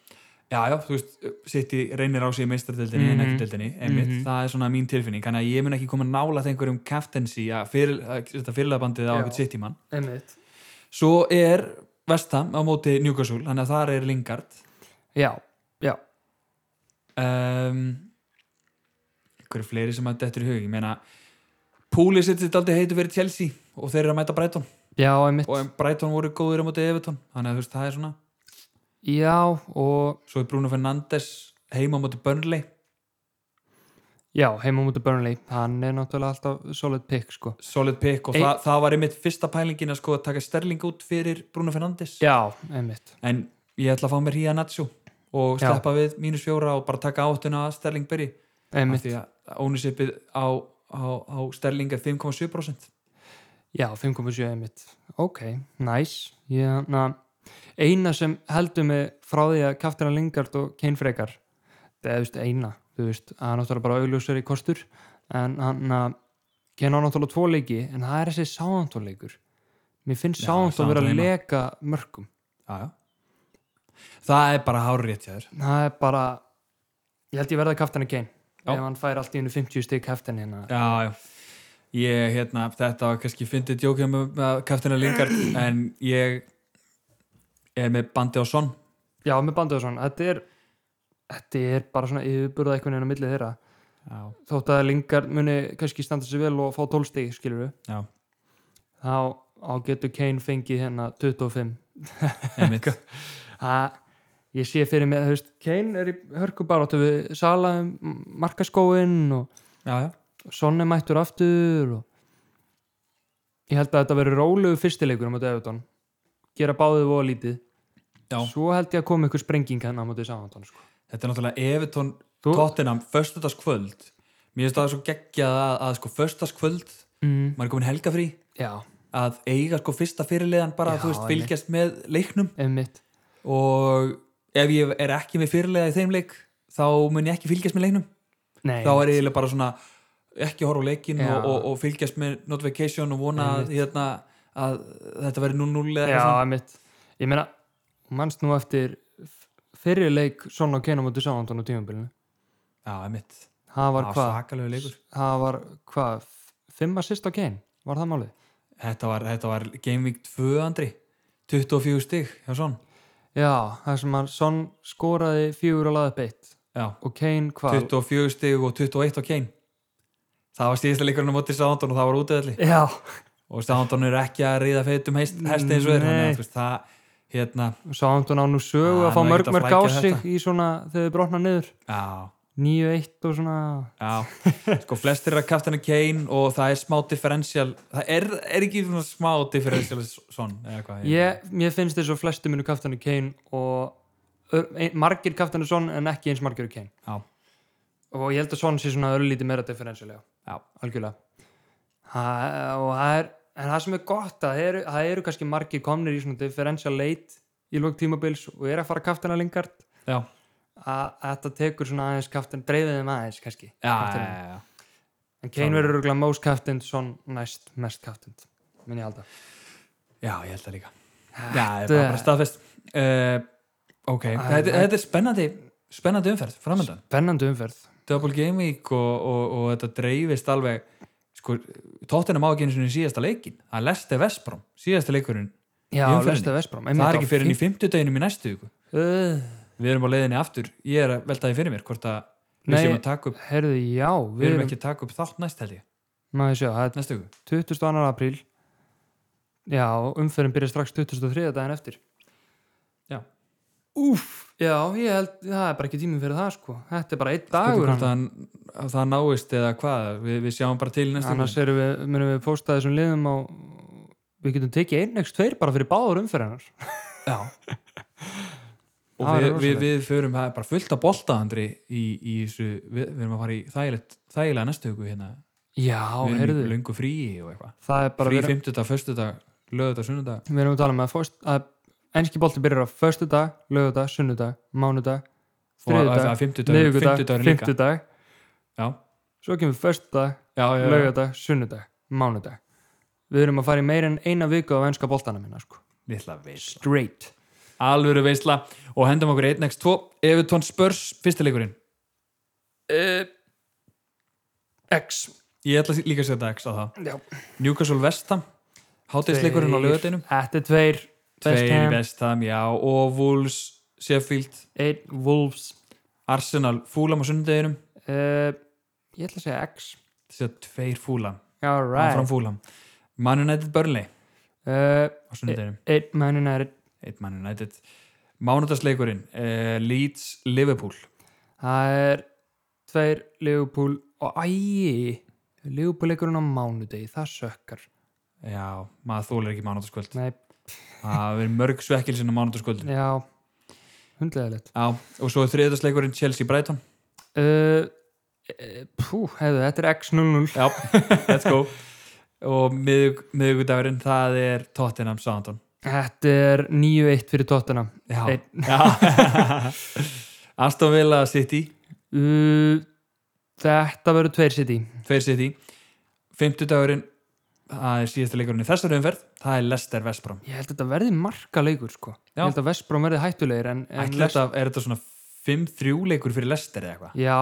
[SPEAKER 2] já, já, þú veist, City reynir á sig í meistaradeldinni en ekki deldinni, einmitt það er svona mín tilfinning, þannig að ég mun ekki koma nála einhverjum captaincy að, fyrir, að setja fyrirlabandið á
[SPEAKER 1] Já.
[SPEAKER 2] einhvern City mann
[SPEAKER 1] Einmitt.
[SPEAKER 2] svo er Vestham á móti Newcastle, þannig að þar er Lingard
[SPEAKER 1] Já, já,
[SPEAKER 2] um, einhverju fleiri sem að dettur í hug, ég meina Púli setið þetta aldrei heitu verið Chelsea og þeir eru að mæta Brighton
[SPEAKER 1] já, einmitt
[SPEAKER 2] og en Brighton voru góðir á móti Everton þannig að þú veist, það er svona
[SPEAKER 1] Já, og
[SPEAKER 2] svo er Bruno Fernandes heima á móti Burnley
[SPEAKER 1] Já, heimum út af Burnley, hann er náttúrulega alltaf solid pick sko.
[SPEAKER 2] solid pick og
[SPEAKER 1] Ein-
[SPEAKER 2] það, það var einmitt fyrsta pælingin að sko taka Sterling út fyrir Bruno Fernandes
[SPEAKER 1] Já, einmitt.
[SPEAKER 2] en ég ætla að fá mér hýja Natsjó og
[SPEAKER 1] Já.
[SPEAKER 2] sleppa við mínus fjóra og bara taka áttuna að Sterling byrji Af
[SPEAKER 1] einmitt.
[SPEAKER 2] því að ónisipið á, á, á Sterling er 5,7%
[SPEAKER 1] Já, 5.7 einmitt. Ok, nice. Ég, na, eina sem heldur mig frá því að kaftina Lingard og Kane frekar, það er þú veist, eina, þú veist, að hann náttúrulega bara augljósari kostur, en hann að Kane á náttúrulega tvo leiki, en það er þessi sáðantórleikur. Mér finnst
[SPEAKER 2] Já,
[SPEAKER 1] sáðantórn vera að
[SPEAKER 2] Southampton heima.
[SPEAKER 1] leka mörgum.
[SPEAKER 2] já, já. það er bara hárétt hjá þér
[SPEAKER 1] Það er bara, ég held ég verða kaftina Kane,
[SPEAKER 2] Já.
[SPEAKER 1] ef hann fær allt í hennu 50 stig kaftin hérna.
[SPEAKER 2] já, já ég, hérna, þetta var kannski fyndið djókja með, með kaftina Lingard en ég er með bandi á son
[SPEAKER 1] Já, með Bandaðsson, þetta er, þetta er bara svona yfirburða einhvern veginn á millið þeirra.
[SPEAKER 2] já,
[SPEAKER 1] þótt að Lingard muni kannski standa sér vel og fá 12 stig, skilur við
[SPEAKER 2] já,
[SPEAKER 1] þá á getur Kane fengið hérna 25
[SPEAKER 2] [laughs] einmitt
[SPEAKER 1] ha, ég sé fyrir mig, þú veist, Kane er í hörkubaráttu við Sala um markaskóin og
[SPEAKER 2] já, já,
[SPEAKER 1] Sonne mættur aftur og ég held að þetta verður rólegu fyrstileikur á móti Everton gera báðið og lítið
[SPEAKER 2] já.
[SPEAKER 1] svo held ég að koma ykkur sprenging hérna á móti Sáhandan sko.
[SPEAKER 2] þetta er náttúrulega Evertón
[SPEAKER 1] Þú-
[SPEAKER 2] Tottenham, föstudagskvöld mér finnst það svo geggjað að, að sko föstudagskvöld,
[SPEAKER 1] mm,
[SPEAKER 2] maður er komin helgafrí
[SPEAKER 1] já,
[SPEAKER 2] að eiga sko fyrsta fyrirliðan bara,
[SPEAKER 1] Já,
[SPEAKER 2] þú veist,
[SPEAKER 1] einmitt.
[SPEAKER 2] fylgjast með leiknum
[SPEAKER 1] einmitt
[SPEAKER 2] og ef ég er ekki með fyrirlega í þeim leik þá mun ég ekki fylgjast með leiknum
[SPEAKER 1] Nei,
[SPEAKER 2] þá er ég eiginlega bara svona ekki horfa á leikin
[SPEAKER 1] Já.
[SPEAKER 2] og, og, og fylgjast með notification og vona að, hérna, að þetta verði 0-0 eða eitthvað
[SPEAKER 1] Já,
[SPEAKER 2] svona.
[SPEAKER 1] einmitt. Ég meina, mannst nú eftir f- fyrri leik Son og Kane á móti Sáhandon á tímabilinu.
[SPEAKER 2] já, einmitt
[SPEAKER 1] Það var
[SPEAKER 2] Það var
[SPEAKER 1] hvað?
[SPEAKER 2] svakalegu leikur
[SPEAKER 1] Það var hvað? Fimm assist á Kane? Var það málið?
[SPEAKER 2] þetta var, þetta var Game Week 2 andri 24 stig hjá svon
[SPEAKER 1] Já, það sem að Son skoraði fjögur og laði upp eitt
[SPEAKER 2] já,
[SPEAKER 1] og Kane hvað?
[SPEAKER 2] 24 stig og 21 á Kane það var síðasta leikurinn á móti Sándon og það var útöðli
[SPEAKER 1] Já,
[SPEAKER 2] og Sándon er ekki að ríða feitum hest, hesti eins og þeir þannig
[SPEAKER 1] Mm, Nei.
[SPEAKER 2] að þú veist, það, hérna,
[SPEAKER 1] Sáhandon á nú sögu
[SPEAKER 2] Já,
[SPEAKER 1] að fá
[SPEAKER 2] hann var
[SPEAKER 1] mörg
[SPEAKER 2] ekkert að
[SPEAKER 1] mörg á
[SPEAKER 2] flækja
[SPEAKER 1] sig í svona þegar þau brotna niður.
[SPEAKER 2] já
[SPEAKER 1] 9-1 og svona...
[SPEAKER 2] Já, [laughs] sko flestir er að kafta henni Kane og það er smá differential það er, er ekki svona smá differential svon, eða hvað
[SPEAKER 1] Ég, mér finnst þess að flestu minu kaftanu Kane og ör- ein- margir kaftanu Son en ekki eins margir Kane.
[SPEAKER 2] Já,
[SPEAKER 1] og ég held að svona sé svona örlítið meira differential já,
[SPEAKER 2] Já.
[SPEAKER 1] algjörlega ha, og það er en það sem er gott, að það eru, það eru kannski margir komnir í svona differential leit í lók tímabils og er að fara kaftina lingart
[SPEAKER 2] já,
[SPEAKER 1] að að þetta tekur svona aðeins kaftin dreifið þeim aðeins kannski
[SPEAKER 2] já, já,
[SPEAKER 1] kaftinum.
[SPEAKER 2] já, já.
[SPEAKER 1] en Kane verður örgulega most kaftin son næst mest kaftin minn ég halda
[SPEAKER 2] já ég held það líka Já, það er
[SPEAKER 1] Þetta-
[SPEAKER 2] bara, bara staðfest uh, Ok,
[SPEAKER 1] Æ,
[SPEAKER 2] þetta,
[SPEAKER 1] æ.
[SPEAKER 2] þetta er spennandi spennandi umferð, framöndan
[SPEAKER 1] spennandi umferð
[SPEAKER 2] Double Game Week og, og, og þetta dreifist alveg sko, tóttina má ekki einu sinni í síðasta leikin það er Leste Vesprom, síðasta leikurinn
[SPEAKER 1] já,
[SPEAKER 2] umferðinni.
[SPEAKER 1] lesta Vesprám
[SPEAKER 2] það er ekki fyrir henni í fimmtudeginum í næstu viku
[SPEAKER 1] uh,
[SPEAKER 2] Við erum á leiðinni aftur, ég er að velta því fyrir mér hvort að við
[SPEAKER 1] Nei,
[SPEAKER 2] séum að taka upp
[SPEAKER 1] herðu, já,
[SPEAKER 2] við erum ekki að taka upp þátt næst held ég
[SPEAKER 1] maður sjá, það er
[SPEAKER 2] næstu ykkur
[SPEAKER 1] 22. apríl já, umferðin byrja strax 23. daginn eftir
[SPEAKER 2] Já.
[SPEAKER 1] Úff, já, ég held það er bara ekki tíminn fyrir það sko þetta er bara einn dagur
[SPEAKER 2] hvort að að það náist eða hvað við, við sjáum bara til í næstu
[SPEAKER 1] annars
[SPEAKER 2] ykkur
[SPEAKER 1] erum við, munum við posta þessum liðum á við getum tekið einn ekst tveir bara fyrir báður umferðinar
[SPEAKER 2] já
[SPEAKER 1] [laughs]
[SPEAKER 2] og
[SPEAKER 1] Það er
[SPEAKER 2] við, við,
[SPEAKER 1] rosalegt.
[SPEAKER 2] við förum það er bara fullt að bolta andri í, í þessu, við, við erum að fara í þægilegt þægilega næstu ykkur hérna
[SPEAKER 1] já,
[SPEAKER 2] við erum
[SPEAKER 1] heyrðu,
[SPEAKER 2] í löngu fríi og eitthvað
[SPEAKER 1] það er bara
[SPEAKER 2] frí
[SPEAKER 1] við, erum-
[SPEAKER 2] fymtudag, föstudag, lögudag, sunnudag
[SPEAKER 1] við erum að tala um að, fórst, að enski bolti byrjar á föstu dag, lögudag, sunnudag, mánudag
[SPEAKER 2] og að-
[SPEAKER 1] þriðudag,
[SPEAKER 2] að fymtudag,
[SPEAKER 1] miðvikudag,
[SPEAKER 2] fymtudag líka
[SPEAKER 1] fymtudag
[SPEAKER 2] já,
[SPEAKER 1] svo kemur föstu dag
[SPEAKER 2] já, já, já.
[SPEAKER 1] laugardag, sunnudag, mánudag við erum að fara í meir en eina viku á venska boltana minna sko.
[SPEAKER 2] litla veist
[SPEAKER 1] straight
[SPEAKER 2] alvöru veisla og hendum okkur 1x2 Evertón Spurs, fyrsta leikurinn
[SPEAKER 1] uh, X
[SPEAKER 2] ég ætla líka að setja X á það
[SPEAKER 1] Já.
[SPEAKER 2] Newcastle Vestam, hátegisleikurinn á
[SPEAKER 1] Tveir.
[SPEAKER 2] lögadeinum
[SPEAKER 1] þetta er tveir West
[SPEAKER 2] tveir
[SPEAKER 1] Ham,
[SPEAKER 2] Vestam, já, og Wolves Sheffield,
[SPEAKER 1] einn Wolves
[SPEAKER 2] Arsenal Fúlam á sunnudeginum,
[SPEAKER 1] uh, ég ætla að segja X
[SPEAKER 2] þess að tveir Fúlam áfram
[SPEAKER 1] alright
[SPEAKER 2] Fúlam, Man United Burnley á
[SPEAKER 1] uh,
[SPEAKER 2] sunnudeginum,
[SPEAKER 1] einn Man United
[SPEAKER 2] eitt Man United eh, mánudagsleikurinn, uh, Leeds Liverpool
[SPEAKER 1] það er tveir Liverpool og æi Leopoldleikurinn á mánudegi, það sökkar
[SPEAKER 2] Já, maður þólir ekki mánutaskvöld
[SPEAKER 1] Nei,
[SPEAKER 2] Það verður mörg svekkilsinn á mánutaskvöld
[SPEAKER 1] já hundlegaðilegt
[SPEAKER 2] Já, og svo er þriðdagsleikurinn Chelsea Brighton
[SPEAKER 1] uh, eh, Pú, hefðu, þetta er X00
[SPEAKER 2] Já, let's go [laughs] Og miðug- miðvikudagurinn, það er Tottenham Southampton
[SPEAKER 1] Þetta er 9-1 fyrir tóttuna
[SPEAKER 2] Já,
[SPEAKER 1] Einn.
[SPEAKER 2] [laughs] Já. Aston Villa City
[SPEAKER 1] uh, Þetta verður tveir sitt í
[SPEAKER 2] Tveir City Fimmtudagurinn, það er síðasta leikurinn í þessar umferð Það er Leicester Vestbrom
[SPEAKER 1] Ég held að þetta verði marga leikur sko. Ég
[SPEAKER 2] Já.
[SPEAKER 1] held að Vestbróm verði hættulegir en, en
[SPEAKER 2] Ætli
[SPEAKER 1] Lest...
[SPEAKER 2] þetta, er þetta svona 5-3 leikur fyrir Leicester eða eitthvað?
[SPEAKER 1] Já,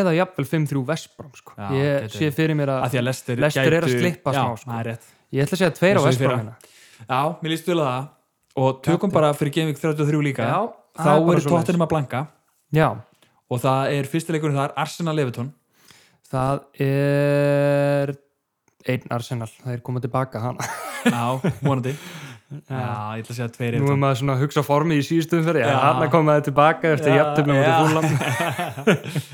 [SPEAKER 1] eða jafnvel 5-3 Vestbróm sko.
[SPEAKER 2] Já,
[SPEAKER 1] Ég
[SPEAKER 2] gæti
[SPEAKER 1] sé
[SPEAKER 2] verið.
[SPEAKER 1] fyrir mér að
[SPEAKER 2] Af því að Leicester,
[SPEAKER 1] Leicester er að
[SPEAKER 2] gætu-
[SPEAKER 1] slippa
[SPEAKER 2] Já,
[SPEAKER 1] smá, sko.
[SPEAKER 2] það er rétt
[SPEAKER 1] Ég ætla að segja tveir á
[SPEAKER 2] Eins og í
[SPEAKER 1] Vestbróm
[SPEAKER 2] fyrra.
[SPEAKER 1] hérna.
[SPEAKER 2] Já, mér líst vel að það og tökum bara fyrir Genvík 33 líka
[SPEAKER 1] Já,
[SPEAKER 2] þá
[SPEAKER 1] það er bara
[SPEAKER 2] eru
[SPEAKER 1] svoleiðis.
[SPEAKER 2] tóttinum að blanka
[SPEAKER 1] Já,
[SPEAKER 2] og það er fyrstileikurinn þar Arsenal Everton
[SPEAKER 1] það er einn Arsenal, það er komað tilbaka hana
[SPEAKER 2] Já,
[SPEAKER 1] [laughs]
[SPEAKER 2] vonandi Já, ég ætla að segja
[SPEAKER 1] Nú
[SPEAKER 2] tveir
[SPEAKER 1] er
[SPEAKER 2] Everton
[SPEAKER 1] maður svona að hugsa formið í síðustum fyrir Já,
[SPEAKER 2] Já.
[SPEAKER 1] hann komaði tilbaka eftir
[SPEAKER 2] Já,
[SPEAKER 1] jafntöfnum og
[SPEAKER 2] já.
[SPEAKER 1] fúlam
[SPEAKER 2] [laughs]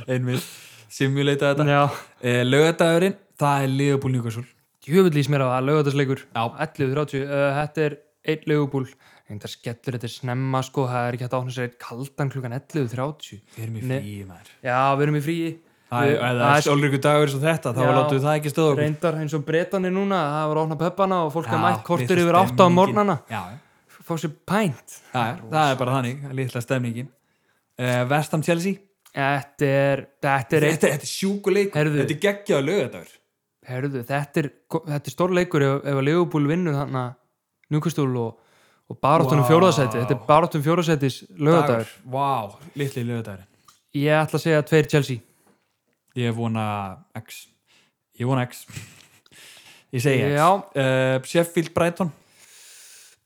[SPEAKER 2] Einmitt, simulata þetta
[SPEAKER 1] Já,
[SPEAKER 2] e, Laugardagurinn, það er Liverpool Newcastle
[SPEAKER 1] djöfull ís mér á það, lögatarsleikur
[SPEAKER 2] Já.
[SPEAKER 1] 11.30, uh, þetta er einn lögubúl Þetta skellur, þetta er snemma sko, það er ekki hægt að áfna sér eitt kaldan klukkan 11.30
[SPEAKER 2] Við erum í
[SPEAKER 1] Nei.
[SPEAKER 2] frí, maður
[SPEAKER 1] Já, við erum í fríi
[SPEAKER 2] Það
[SPEAKER 1] Við-
[SPEAKER 2] er- ef það er sólríku dagur svo þetta, þá
[SPEAKER 1] Já.
[SPEAKER 2] láttu það ekki stöða okkur
[SPEAKER 1] Reyndar eins og breytanir núna, það var ofna pöppana og fólk
[SPEAKER 2] Já,
[SPEAKER 1] er mætt kortur
[SPEAKER 2] litla
[SPEAKER 1] yfir 8 á
[SPEAKER 2] stemningin.
[SPEAKER 1] morgnana
[SPEAKER 2] Já, já.
[SPEAKER 1] Fá sér pænt
[SPEAKER 2] það er, það er bara þannig, litla stemningin e, Vestam Chelsea
[SPEAKER 1] Þetta er, þetta er,
[SPEAKER 2] Þetta, þetta er sjúkuleikur,
[SPEAKER 1] Heyrðu.
[SPEAKER 2] þetta er geggjaðu laugadagur
[SPEAKER 1] herðu, þetta er, þetta er stór leikur ef, ef að Leopold vinnur hann að Núkastúl og, og baráttunum
[SPEAKER 2] Vá.
[SPEAKER 1] wow. fjóraðsæti, þetta er um baráttunum fjóraðsætis lögadagur.
[SPEAKER 2] Dagur. Vá, litli lögadagur
[SPEAKER 1] Ég ætla að segja tveir Chelsea.
[SPEAKER 2] Ég vona X Ég vona X Ég segi X
[SPEAKER 1] Já.
[SPEAKER 2] uh, Sheffield Brighton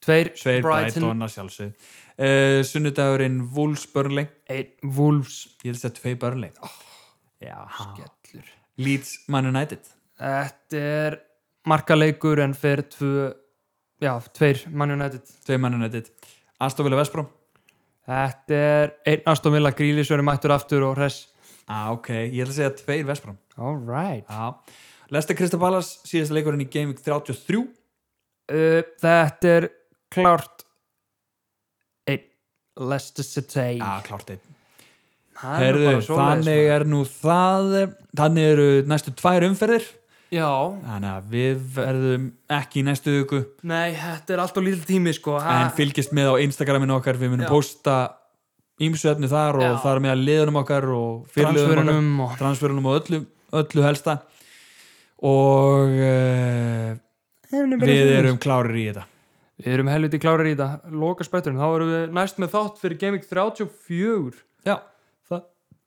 [SPEAKER 1] Tveir,
[SPEAKER 2] Sveir Brighton að sjálfsög uh, Sunnudagurinn Wolves Burnley
[SPEAKER 1] einn Wolves,
[SPEAKER 2] Ég held að þetta tvei Burnley
[SPEAKER 1] Oh.
[SPEAKER 2] Já
[SPEAKER 1] gellur.
[SPEAKER 2] Leeds Man United
[SPEAKER 1] Þetta er markaleikur en fyrir tvö, já, tveir Man United.
[SPEAKER 2] Tvei Man United Aston Villa Vestbrom
[SPEAKER 1] Þetta er einn Aston Villa Grílis verið mættur aftur og hress.
[SPEAKER 2] ah, Ok, ég held að segja tveir Vestbrom
[SPEAKER 1] All right.
[SPEAKER 2] Já Lesta Kristapalas síðasta leikurinn í Game Week 33
[SPEAKER 1] Uh, þetta er klárt einn Leicester City.
[SPEAKER 2] Já, Ah, klárt einn
[SPEAKER 1] Það er nú
[SPEAKER 2] Herðu,
[SPEAKER 1] bara svoleiðis,
[SPEAKER 2] þannig er nú það Þannig eru næstu tvær umferðir
[SPEAKER 1] Já,
[SPEAKER 2] Þannig að við verðum ekki í næstu viku
[SPEAKER 1] nei, þetta er allt og lítil tími sko
[SPEAKER 2] en fylgist með á Instagraminu okkar við munum
[SPEAKER 1] Já.
[SPEAKER 2] posta ímsuefni þar og
[SPEAKER 1] Já.
[SPEAKER 2] þar með að liðunum okkar og fyrirliðunum okkar,
[SPEAKER 1] Transferunum og
[SPEAKER 2] transferunum og öllu, öllu helsta og uh, við erum klárir í þetta
[SPEAKER 1] Við erum helviti klárar í þetta Loka spretturinn, þá erum við næst með þátt fyrir Gaming 34
[SPEAKER 2] Já,
[SPEAKER 1] Það,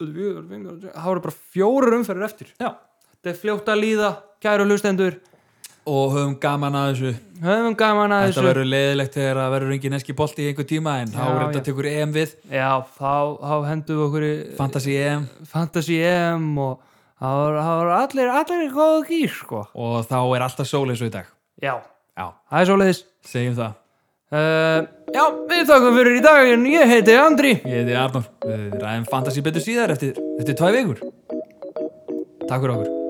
[SPEAKER 1] við- við- þá erum bara fjórar umferður eftir
[SPEAKER 2] já
[SPEAKER 1] Þetta er fljótt að líða, kæru hlustendur
[SPEAKER 2] og höfum gaman að þessu
[SPEAKER 1] Höfum gaman að
[SPEAKER 2] Þetta
[SPEAKER 1] þessu
[SPEAKER 2] verður leiðilegt þegar það verður engin eski bolti í einhver tíma en þá
[SPEAKER 1] Já,
[SPEAKER 2] er þetta
[SPEAKER 1] já.
[SPEAKER 2] tekur EM við
[SPEAKER 1] Já, þá, þá hendum við okkur í
[SPEAKER 2] Fantasy EM
[SPEAKER 1] Fantasy EM og þá er- þá er allir, allir í góðu gýr sko
[SPEAKER 2] og þá er alltaf sól eins og í dag
[SPEAKER 1] Já,
[SPEAKER 2] Já,
[SPEAKER 1] það er svoleiðis
[SPEAKER 2] segjum það
[SPEAKER 1] uh, Já, við þakkum fyrir í dag en ég heiti Andri
[SPEAKER 2] Ég heiti Arnór, við ræðum fantasy betur síðar eftir, eftir tvæ vikur Takk fyrir okkur